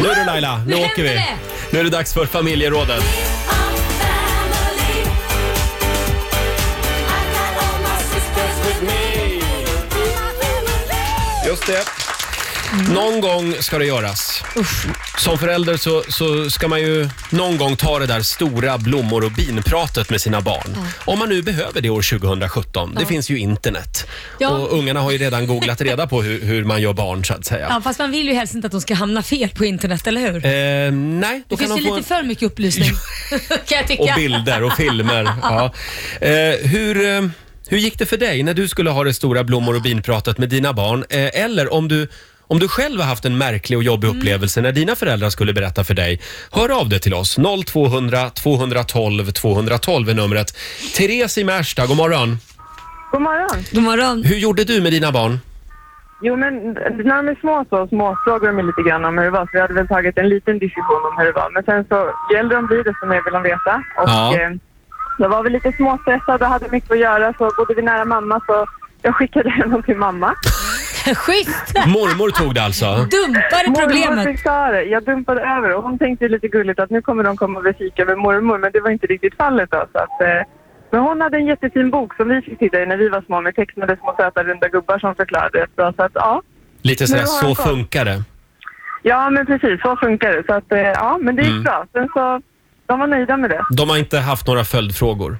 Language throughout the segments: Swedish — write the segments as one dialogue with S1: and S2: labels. S1: Nu du Laila, nu,
S2: Nu
S1: åker vi.
S2: händer
S1: Nu är det dags för familjerådet. Just det. Någon gång ska det göras. Som förälder så, så ska man ju någon gång ta det där stora blommor och binpratet med sina barn. Om man nu behöver det år 2017. Det finns ju internet.
S2: Ja.
S1: Och ungarna har ju redan googlat reda på hur, hur man gör barn så att säga.
S2: Ja, fast man vill ju helst inte att de ska hamna fel på internet, eller hur?
S1: Eh, nej, då
S2: Det
S1: kan
S2: finns
S1: de
S2: ju
S1: få
S2: lite
S1: en...
S2: för mycket upplysning, kan jag tycka.
S1: Och bilder och filmer. ja. eh, hur, eh, hur gick det för dig när du skulle ha det stora blommor och binpratet med dina barn? Eh, eller om du, om du själv har haft en märklig och
S3: Mm.
S1: jobbig upplevelse när dina föräldrar skulle berätta för dig. Hör av dig till oss. 0200 212 212 är numret. Therese i Märsta, god morgon.
S3: God morgon.
S2: God morgon.
S1: Hur gjorde du med dina barn?
S3: Jo, men när de är små så småfrågar de mig lite grann om hur det var. Så vi hade väl tagit en liten diskussion om hur det var. Men sen så, ju äldre de blir desto mer vill de veta. Och
S1: Ja.
S3: eh, jag var väl lite småstressad och hade mycket att göra så bodde vi nära mamma så jag skickade honom till mamma.
S2: Schysst!
S1: Mormor tog det alltså.
S2: Dumpar
S3: Mormor
S2: problemet.
S3: fick ta det. Jag dumpade över och hon tänkte ju lite gulligt att nu kommer de komma och bli fika med mormor men det var inte riktigt fallet då. Så att, eh, men hon hade en jättefin bok som vi fick titta i när vi var små med tecknade små söta runda gubbar som förklarade rätt bra. Så att ja.
S1: Lite sådär,
S3: Nu har
S1: så
S3: jag koll.
S1: funkar det.
S3: Ja, men precis. Så funkar det. Så att, eh, ja, men det gick
S1: Mm.
S3: bra. Sen så, de var nöjda med det.
S1: De har inte haft några följdfrågor.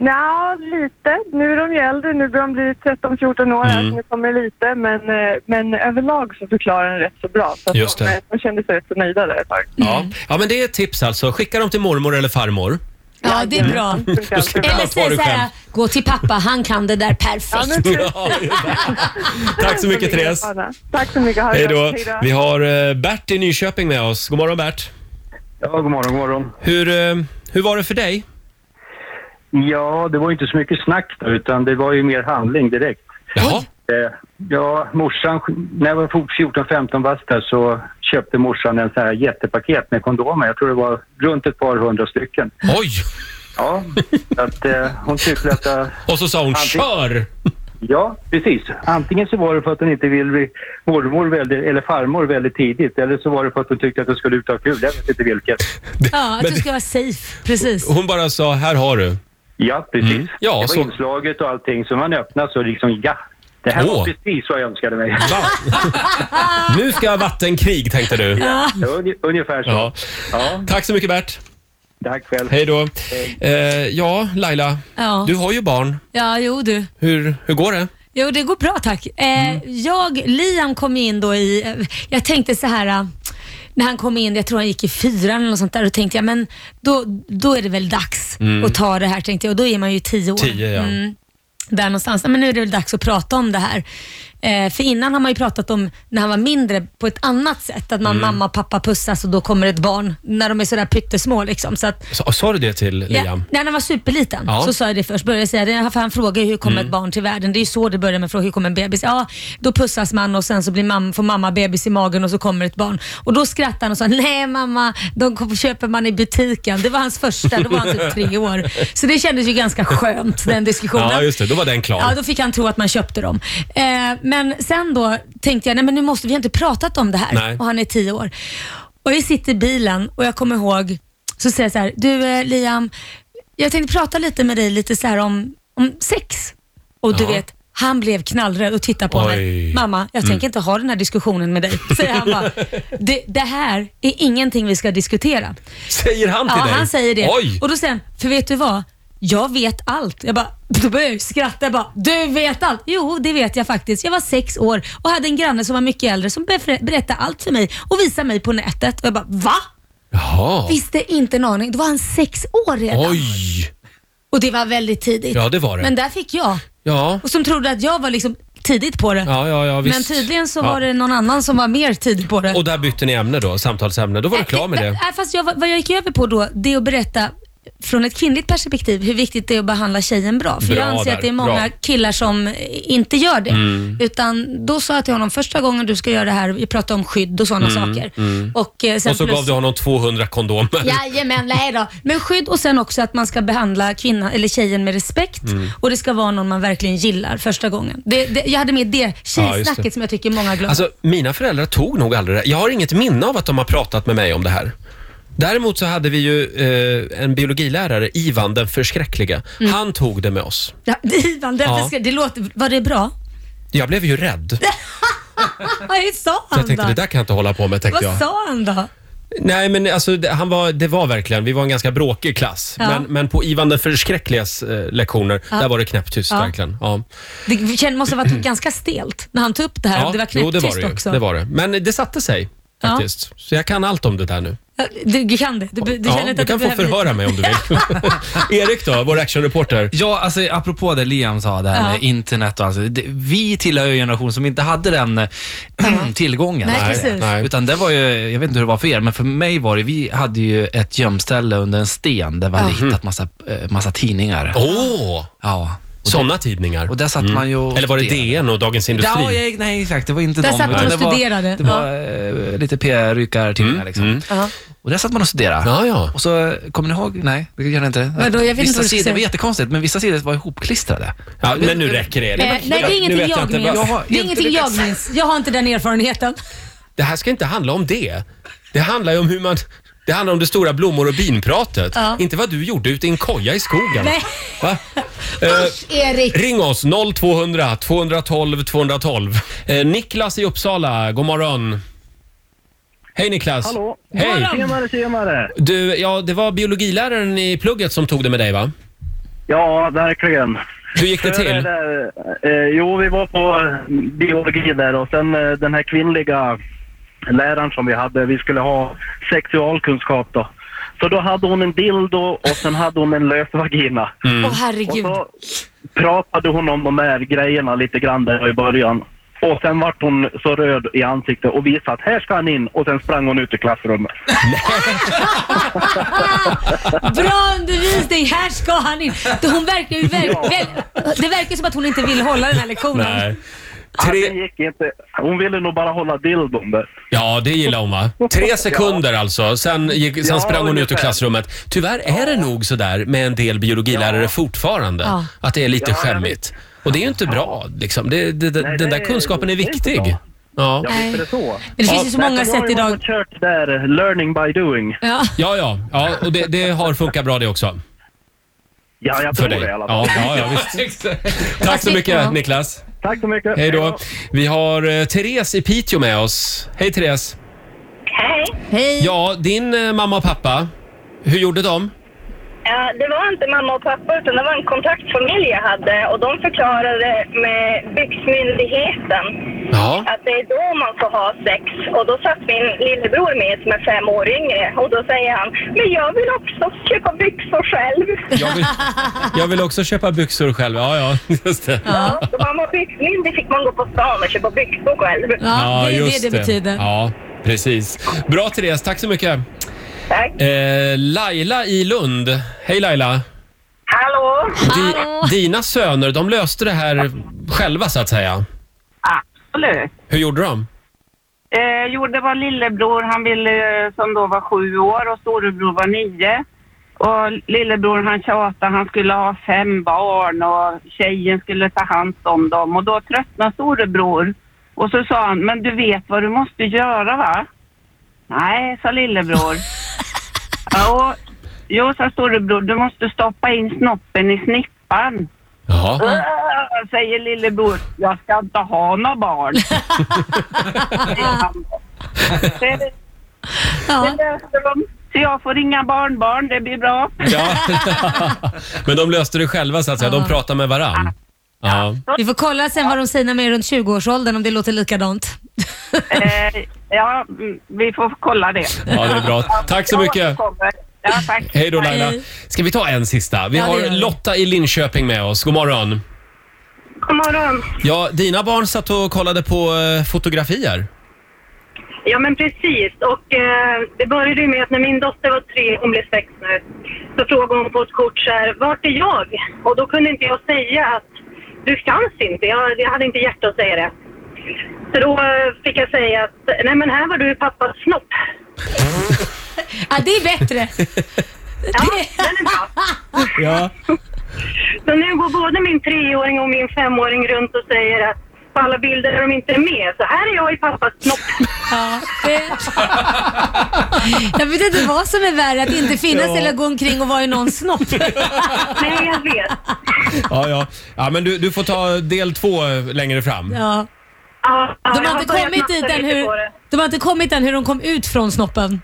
S3: Nja, lite. Nu är de ju äldre. Nu börjar de bli 13-14
S1: Mm.
S3: år. här, så Nu kommer det lite. Men, eh, men överlag så förklarar den rätt så bra. Så att
S1: Just det.
S3: De, de kände sig rätt så nöjda där ett tag.
S1: Ja. ja, men det är ett tips alltså. Skicka dem till mormor eller farmor.
S2: Ja, det är bra.
S3: Det funkar
S1: Då
S3: alltid bra.
S1: slipper
S2: Eller
S1: allt vara
S2: säg
S1: du själv.
S2: såhär, gå till pappa, han kan det där
S3: Ja,
S2: perfekt.
S3: men precis.
S1: Ja, just det. Tack så mycket Therese.
S3: Tack så mycket. Ha det
S1: Hej
S3: bra.
S1: då.
S3: Hej
S1: Vi har eh, Bert i Nyköping med oss. God morgon Bert.
S4: Ja, god morgon, god morgon.
S1: Hur, eh, hur var det för dig?
S4: Ja, det var ju inte så mycket snack då, utan det var ju mer handling direkt.
S1: Jaha.
S4: Eh, ja, morsan, när jag var 14-15 bast där så köpte morsan en sån här jättepaket med kondomer. Jag tror det var runt ett par hundra stycken.
S1: Oj!
S4: Ja, så att eh, hon tyckte att jag
S1: Och så sa hon kör!
S4: Ja, precis. Antingen så var det för att hon inte ville bli mormor väldigt, eller farmor väldigt tidigt eller så var det för att hon tyckte att hon skulle ut och ha kul. Jag vet inte vilket.
S2: Ja, att
S1: Men-
S2: du ska vara safe. Precis.
S1: Hon bara sa här har du.
S4: Ja, precis.
S1: Mm. Ja,
S4: det var
S1: så-
S4: inslaget och allting. Så man öppnade så liksom, ja. Det här
S1: Åh.
S4: var precis vad jag önskade mig.
S1: Va? nu ska jag ha vattenkrig tänkte du.
S4: Ja, uni- ungefär så.
S1: Ja.
S4: Ja.
S1: Tack så mycket Bert.
S4: tack själv.
S1: Hej då. Eh, ja, Laila.
S2: Ja.
S1: Du har ju barn.
S2: Ja, jo du.
S1: Hur, hur går det?
S2: Jo, det går bra tack. Eh,
S1: Mm.
S2: jag, Liam kom in då i, eh, jag tänkte så här eh, när han kom in, jag tror han gick i fyran eller något sånt där, då tänkte jag men då, då är det väl dags att ta det här tänkte jag och då är man ju tio år.
S1: Mm. Tio, ja.
S2: Mm, där någonstans. Men nu är det väl dags att prata om det här. Eh, för innan har man ju pratat om när han var mindre på ett annat sätt, att man
S1: Mm.
S2: mamma och pappa pussas och då kommer ett barn när de är sådär pyttesmå liksom. Så att,
S1: Sa, sa du det till
S2: Ja,
S1: Liam?
S2: när han var superliten
S1: Ja. Mm.
S2: så sa jag det först. Började jag säga det, för han frågar ju hur kommer ett barn till världen? Det är ju så det börjar med frågan, hur kommer en bebis? Ja, då pussas man och sen så blir mam- får mamma bebis i magen och så kommer ett barn. Och då skrattade han och sa, nej mamma, de kom- köper man i butiken. Det var hans första, då var han typ tre år. Så det kändes ju ganska skönt den diskussionen.
S1: Ja, just det. Då var den
S2: Ja,
S1: klar.
S2: då fick han tro att man köpte dem. Eh, men sen då tänkte jag, nej men nu måste vi har inte pratat om det här
S1: Nej.
S2: och han är tio år. Och vi sitter i bilen och jag kommer ihåg, så säger jag så här, du eh, Liam, jag tänkte prata lite med dig lite så här om, om sex. Och du
S1: Ja.
S2: vet, han blev knallröd och tittade på
S1: Oj. Mm.
S2: mig. Mamma, jag tänker inte ha den här diskussionen med dig. Säger han bara, det, det här är ingenting vi ska diskutera.
S1: Säger han till
S2: Ja,
S1: dig?
S2: han säger det.
S1: Oj!
S2: Och då säger han, för vet du vad? Jag vet allt. Jag bara, då börjar jag ju skratta. Jag bara, du vet allt. Jo, det vet jag faktiskt. Jag var sex år och hade en granne som var mycket äldre som befre- berättade allt för mig och visade mig på nätet. Och jag bara, va?
S1: Jaha.
S2: Visste inte en aning. Då var han sex år redan.
S1: Oj!
S2: Och det var väldigt tidigt.
S1: Ja, det var det.
S2: Men där fick jag.
S1: Ja,
S2: Och som trodde att jag var liksom tidigt på det.
S1: ja, ja, ja visst.
S2: Men tydligen så
S1: Ja.
S2: var det någon annan som var mer tidigt på det.
S1: Och där bytte ni ämne då, samtalsämne. Då var du klar med
S2: Äh, Nej,
S1: det.
S2: nej, Fast jag, vad jag gick över på då, det är att berätta från ett kvinnligt perspektiv hur viktigt det är att behandla tjejen bra. För
S1: Bra
S2: jag anser
S1: där,
S2: att det är många
S1: bra. Mm.
S2: killar som inte gör det. Utan då sa jag till honom, första gången du ska göra det här, vi pratade om skydd och sådana saker. Och, eh, sen
S1: Mm, Och så
S2: plus-
S1: gav du honom 200 kondomer.
S2: Jajamän, nej då. Men skydd och sen också att man ska behandla kvinnan, eller tjejen med respekt
S1: Mm.
S2: och det ska vara någon man verkligen gillar första gången. Det, det, jag hade med det
S1: Ja,
S2: tjejsnacket
S1: just det.
S2: som jag tycker många glömmer.
S1: Alltså, mina föräldrar tog nog aldrig det. Jag har inget minne av att de har pratat med mig om det här. Däremot så hade vi ju eh, en biologilärare, Ivan den förskräckliga.
S2: Mm.
S1: Han tog det med oss.
S2: ja, det, Ivan, det,
S1: Ja.
S2: det, låter, var det bra?
S1: Jag blev ju rädd.
S2: Vad sa
S1: Jag
S2: han
S1: tänkte, det
S2: då?
S1: där kan jag inte hålla på med, tänkte jag.
S2: Vad sa han då?
S1: Nej, men alltså, det, han var, det var verkligen, vi var en ganska bråkig klass.
S2: Ja.
S1: Men, men på Ivan den förskräckligas eh, lektioner,
S2: Ja.
S1: där var det knäpptyst
S2: Ja.
S1: verkligen. Ja.
S2: Det kände- måste ha varit ganska stelt när han tog upp det här.
S1: Ja,
S2: och det var
S1: jo, det
S2: knäpptyst
S1: var det, ju.
S2: också.
S1: det var det. Men det satte sig
S2: Ja.
S1: faktiskt. Så jag kan allt om det där nu.
S2: Ja, Du, du kan det. Du, be- du
S1: ja,
S2: känner inte
S1: du
S2: att
S1: kan
S2: du
S1: få
S2: behöver...
S1: förhöra mig om du vill. Erik då, vår actionreporter.
S5: Ja, alltså apropå det Liam sa, det här
S2: Ja.
S5: med internet och alltså, det, Vi tillhör ju en generation som inte hade den eh, tillgången.
S2: Nej, precis.
S1: nej.
S5: Utan det var ju, jag vet inte hur det var för er, men för mig var det, vi hade ju ett gömställe under en sten där vi hade hittat massa, eh, massa tidningar.
S1: Mhm. Åh,
S5: Ja. Och,
S1: sådana tidningar. Mm.
S5: och där satt man ju och
S1: Eller var det
S5: studerade.
S1: DN och Dagens Industri?
S5: Ja, jag, nej, exakt. Det var inte
S2: Där
S5: dem.
S2: satt man
S5: utan
S2: och
S5: det var-
S2: studerade.
S5: Det var eh, lite PR-ryckartidningar liksom.
S2: Ja.
S5: Och där satt man och studerade.
S1: Mm, Ja, ja.
S5: Och så, eh, kommer ni ihåg? Nej, det gör ni inte.
S2: Vadå, jag vet inte
S5: vissa
S2: vad du ska
S5: sidor
S2: säga.
S5: var jättekonstigt, men vissa sidor var ihopklistrade.
S1: Ja, men nu räcker det, Erik.
S2: Eh, nej, det
S1: Nu
S2: är ingenting
S1: vet
S2: jag,
S1: inte
S2: minns.
S1: vad-
S5: Jag har
S2: Det är
S5: inte
S2: ingenting jag
S5: lyckats.
S2: minns. Jag har inte den erfarenheten.
S1: Det här ska inte handla om det. Det handlar ju om hur man... Det handlar om det stora blommor och binpratet.
S2: Ja.
S1: Inte vad du gjorde ute i en koja i skogen.
S2: Nej.
S1: Va? Eh,
S2: Erik.
S1: ring oss, 0200 212 212. Eh, Niklas i Uppsala, god morgon. Hej Niklas.
S6: Hallå.
S1: Hej.
S2: morgon.
S6: Tjenare, tjenare!
S1: Du, ja, det var biologiläraren i plugget som tog det med dig va?
S6: Ja, verkligen.
S1: Hur gick det
S6: Före
S1: till?
S6: Där, eh, jo, vi var på biologi där och sen eh, den här kvinnliga läraren som vi hade, vi skulle ha sexualkunskap då. Så då hade hon en dildo och sen hade hon en lös vagina.
S2: Åh
S1: Mm.
S6: Och
S2: herregud.
S6: så pratade hon om de här grejerna lite grann där i början. Och sen vart hon så röd i ansiktet och visade att här ska han in och sen sprang hon ut i klassrummet.
S2: Bra undervisning, här ska han in. Det- Hon verkar ju väl, väl, det verkar som att hon inte vill hålla den här lektionen.
S1: Nej.
S6: Ja, det
S1: Tre,
S6: gick inte. Hon ville nog bara hålla dildon där.
S1: ja, det gillar hon va? Tre sekunder alltså, sen, gick, sen
S6: Ja,
S1: sprang hon ut ur
S6: ungefär.
S1: klassrummet. Tyvärr är det nog sådär med en del biologilärare
S6: Ja.
S1: fortfarande,
S2: Ja.
S1: att det är lite
S6: Ja, jag
S1: skämmigt. Och det är ju inte bra liksom. det, det, det, Den
S6: Nej, det
S1: där
S6: är-
S1: kunskapen är
S6: det är inte
S1: viktig.
S6: bra.
S1: Ja.
S6: Ja, visst är det så.
S2: Men det finns ju så många
S6: Nej, för
S2: sätt
S6: Jag har ju
S2: idag.
S6: varit och kört där, learning by doing.
S2: Ja.
S1: Ja, ja, ja, och det, det har funkat bra det också.
S6: Ja, jag
S1: För
S6: tror
S1: dig.
S6: det i alla
S1: Ja, ja,
S6: fall.
S1: ja, visst. Tack så mycket
S2: Ja.
S1: Niklas.
S6: Tack så mycket.
S1: Hej då. Vi har eh, Therese i Piteå med oss. Hej Therese.
S7: Hej.
S2: Hej.
S1: Ja, din eh, mamma och pappa, hur gjorde de?
S7: Ja, det var inte mamma och pappa utan det var en kontaktfamilj jag hade och de förklarade med byxmyndigheten
S1: Ja.
S7: att det är då man får ha sex. Och då satt min lillebror med som är fem år yngre och då säger han Men jag vill också köpa byxor själv.
S1: Jag vill, jag vill också köpa byxor själv. Ja, ja, just det.
S7: Ja. Då var man byxmyndig fick man gå på stan och köpa byxor själv.
S2: Ja, det är det det betyder.
S1: Ja, precis. Bra Therese, tack så mycket.
S7: Tack.
S1: Eh, Laila i Lund. Hej Laila.
S7: Hallå?
S1: Di,
S2: Hallå.
S1: dina söner, de löste det här själva så att säga.
S3: Absolut.
S1: Hur gjorde de?
S3: Eh, jo, det var lillebror, han ville, eh, som då var sju år och storebror var nio. Och lillebror han tjatade, han skulle ha fem barn och tjejen skulle ta hand om dem. Och då tröttnade storebror. Och så sa han, men du vet vad du måste göra va? Nej, sa lillebror. ja, och, jo, sa storebror, du måste stoppa in snoppen i snippan.
S1: Ja.
S3: "Åh", Äh, Säger lillebror, jag ska inte ha några barn. säger han. Det- det
S2: Ja.
S3: löser de. Så jag får inga barnbarn, det blir bra.
S1: ja. Men de löste det själva så att säga. De
S2: Ja.
S1: pratade med varann. Ja.
S2: Vi får kolla sen vad de säger när de är runt 20-årsåldern om det låter likadant.
S3: Eh, ja, mm, vi får kolla det.
S1: ja, det är bra. Tack så
S3: Jag
S1: mycket.
S3: återkommer. Ja, tack.
S1: Hej då Laila.
S2: Hej.
S1: Ska vi ta en sista? Vi
S2: Ja, det gör
S1: har
S2: vi.
S1: Lotta i Linköping med oss. God morgon.
S7: God morgon.
S1: Ja, dina barn satt och kollade på eh, fotografier.
S7: Ja men precis och eh, det började ju med att när min dotter var tre, hon blev sex nu, så frågade hon på ett kort så här, vart är jag? Och då kunde inte jag säga att du fanns inte. Jag, jag hade inte hjärta att säga det. Så då eh, fick jag säga att, nej men här var du i pappas snopp.
S2: Ja, det är bättre.
S7: Ja, den är bra.
S1: Ja.
S7: Så nu går både min treåring och min femåring runt och säger att på alla bilder är de inte med. Så här är jag i pappas snopp.
S2: Ja, det... Jag vet inte vad som är värre, att inte finnas
S1: Ja.
S2: eller gå omkring och vara i någons snopp.
S7: Nej, jag vet.
S1: Ja, ja. ja men du, du får ta del två eh, längre fram.
S2: Ja.
S7: Ja, ja,
S2: De
S7: jag
S2: har, inte
S7: börjat
S2: kommit dit
S7: nafsa
S2: än
S7: lite
S2: hur,
S7: på det.
S2: de har inte kommit än hur de kom ut från snoppen.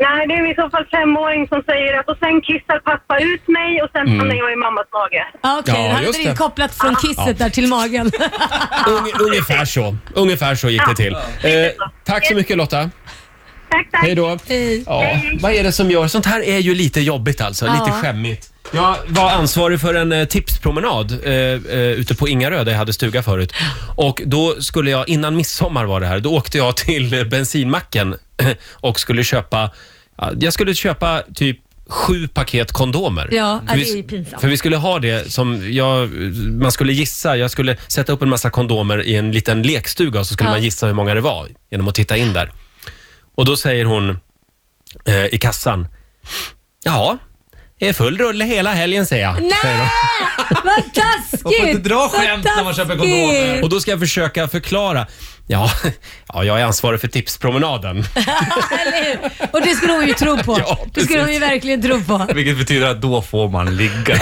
S7: Nej, det är i så fall femåring som säger att och sen kissar pappa ut mig och
S1: Mm.
S7: sen hamnar jag i mammas mage.
S2: Ah, Okej,
S1: Ja,
S2: okay. hade
S1: just
S2: det
S1: det.
S2: kopplat från kisset där till magen.
S1: Ung, ungefär så. Ungefär så gick det till. Eh, tack så mycket Lotta.
S7: Tack, tack.
S1: Hej då.
S2: Hej.
S1: Ja, vad är det som gör... Sånt här är ju lite jobbigt alltså,
S2: Ja.
S1: lite skämmigt. Jag var ansvarig för en eh, tipspromenad eh, eh, ute på Ingarö där jag hade stuga förut. Och då skulle jag, innan midsommar var det här, då åkte jag till eh, bensinmacken och skulle köpa, ja, jag skulle köpa typ sju paket kondomer.
S2: Ja,
S1: För
S2: ja,
S1: vi-
S2: det är ju pinsamt.
S1: För vi skulle ha det som, jag, man skulle gissa, jag skulle sätta upp en massa kondomer i en liten lekstuga och så skulle
S2: Ja.
S1: man gissa hur många det var genom att titta in där. Och då säger hon eh, i kassan, ja, det är full rulle hela helgen säger jag. Säger
S2: Nej!
S1: hon.
S2: Vad taskigt!
S5: Man får inte dra skämt när man köper kondomer.
S1: Och då ska jag försöka förklara. Ja, ja, jag är ansvarig för tipspromenaden.
S2: Eller hur? Och det skulle hon ju tro på.
S1: Ja,
S2: det skulle hon ju verkligen tro på.
S5: Vilket betyder att då får man ligga.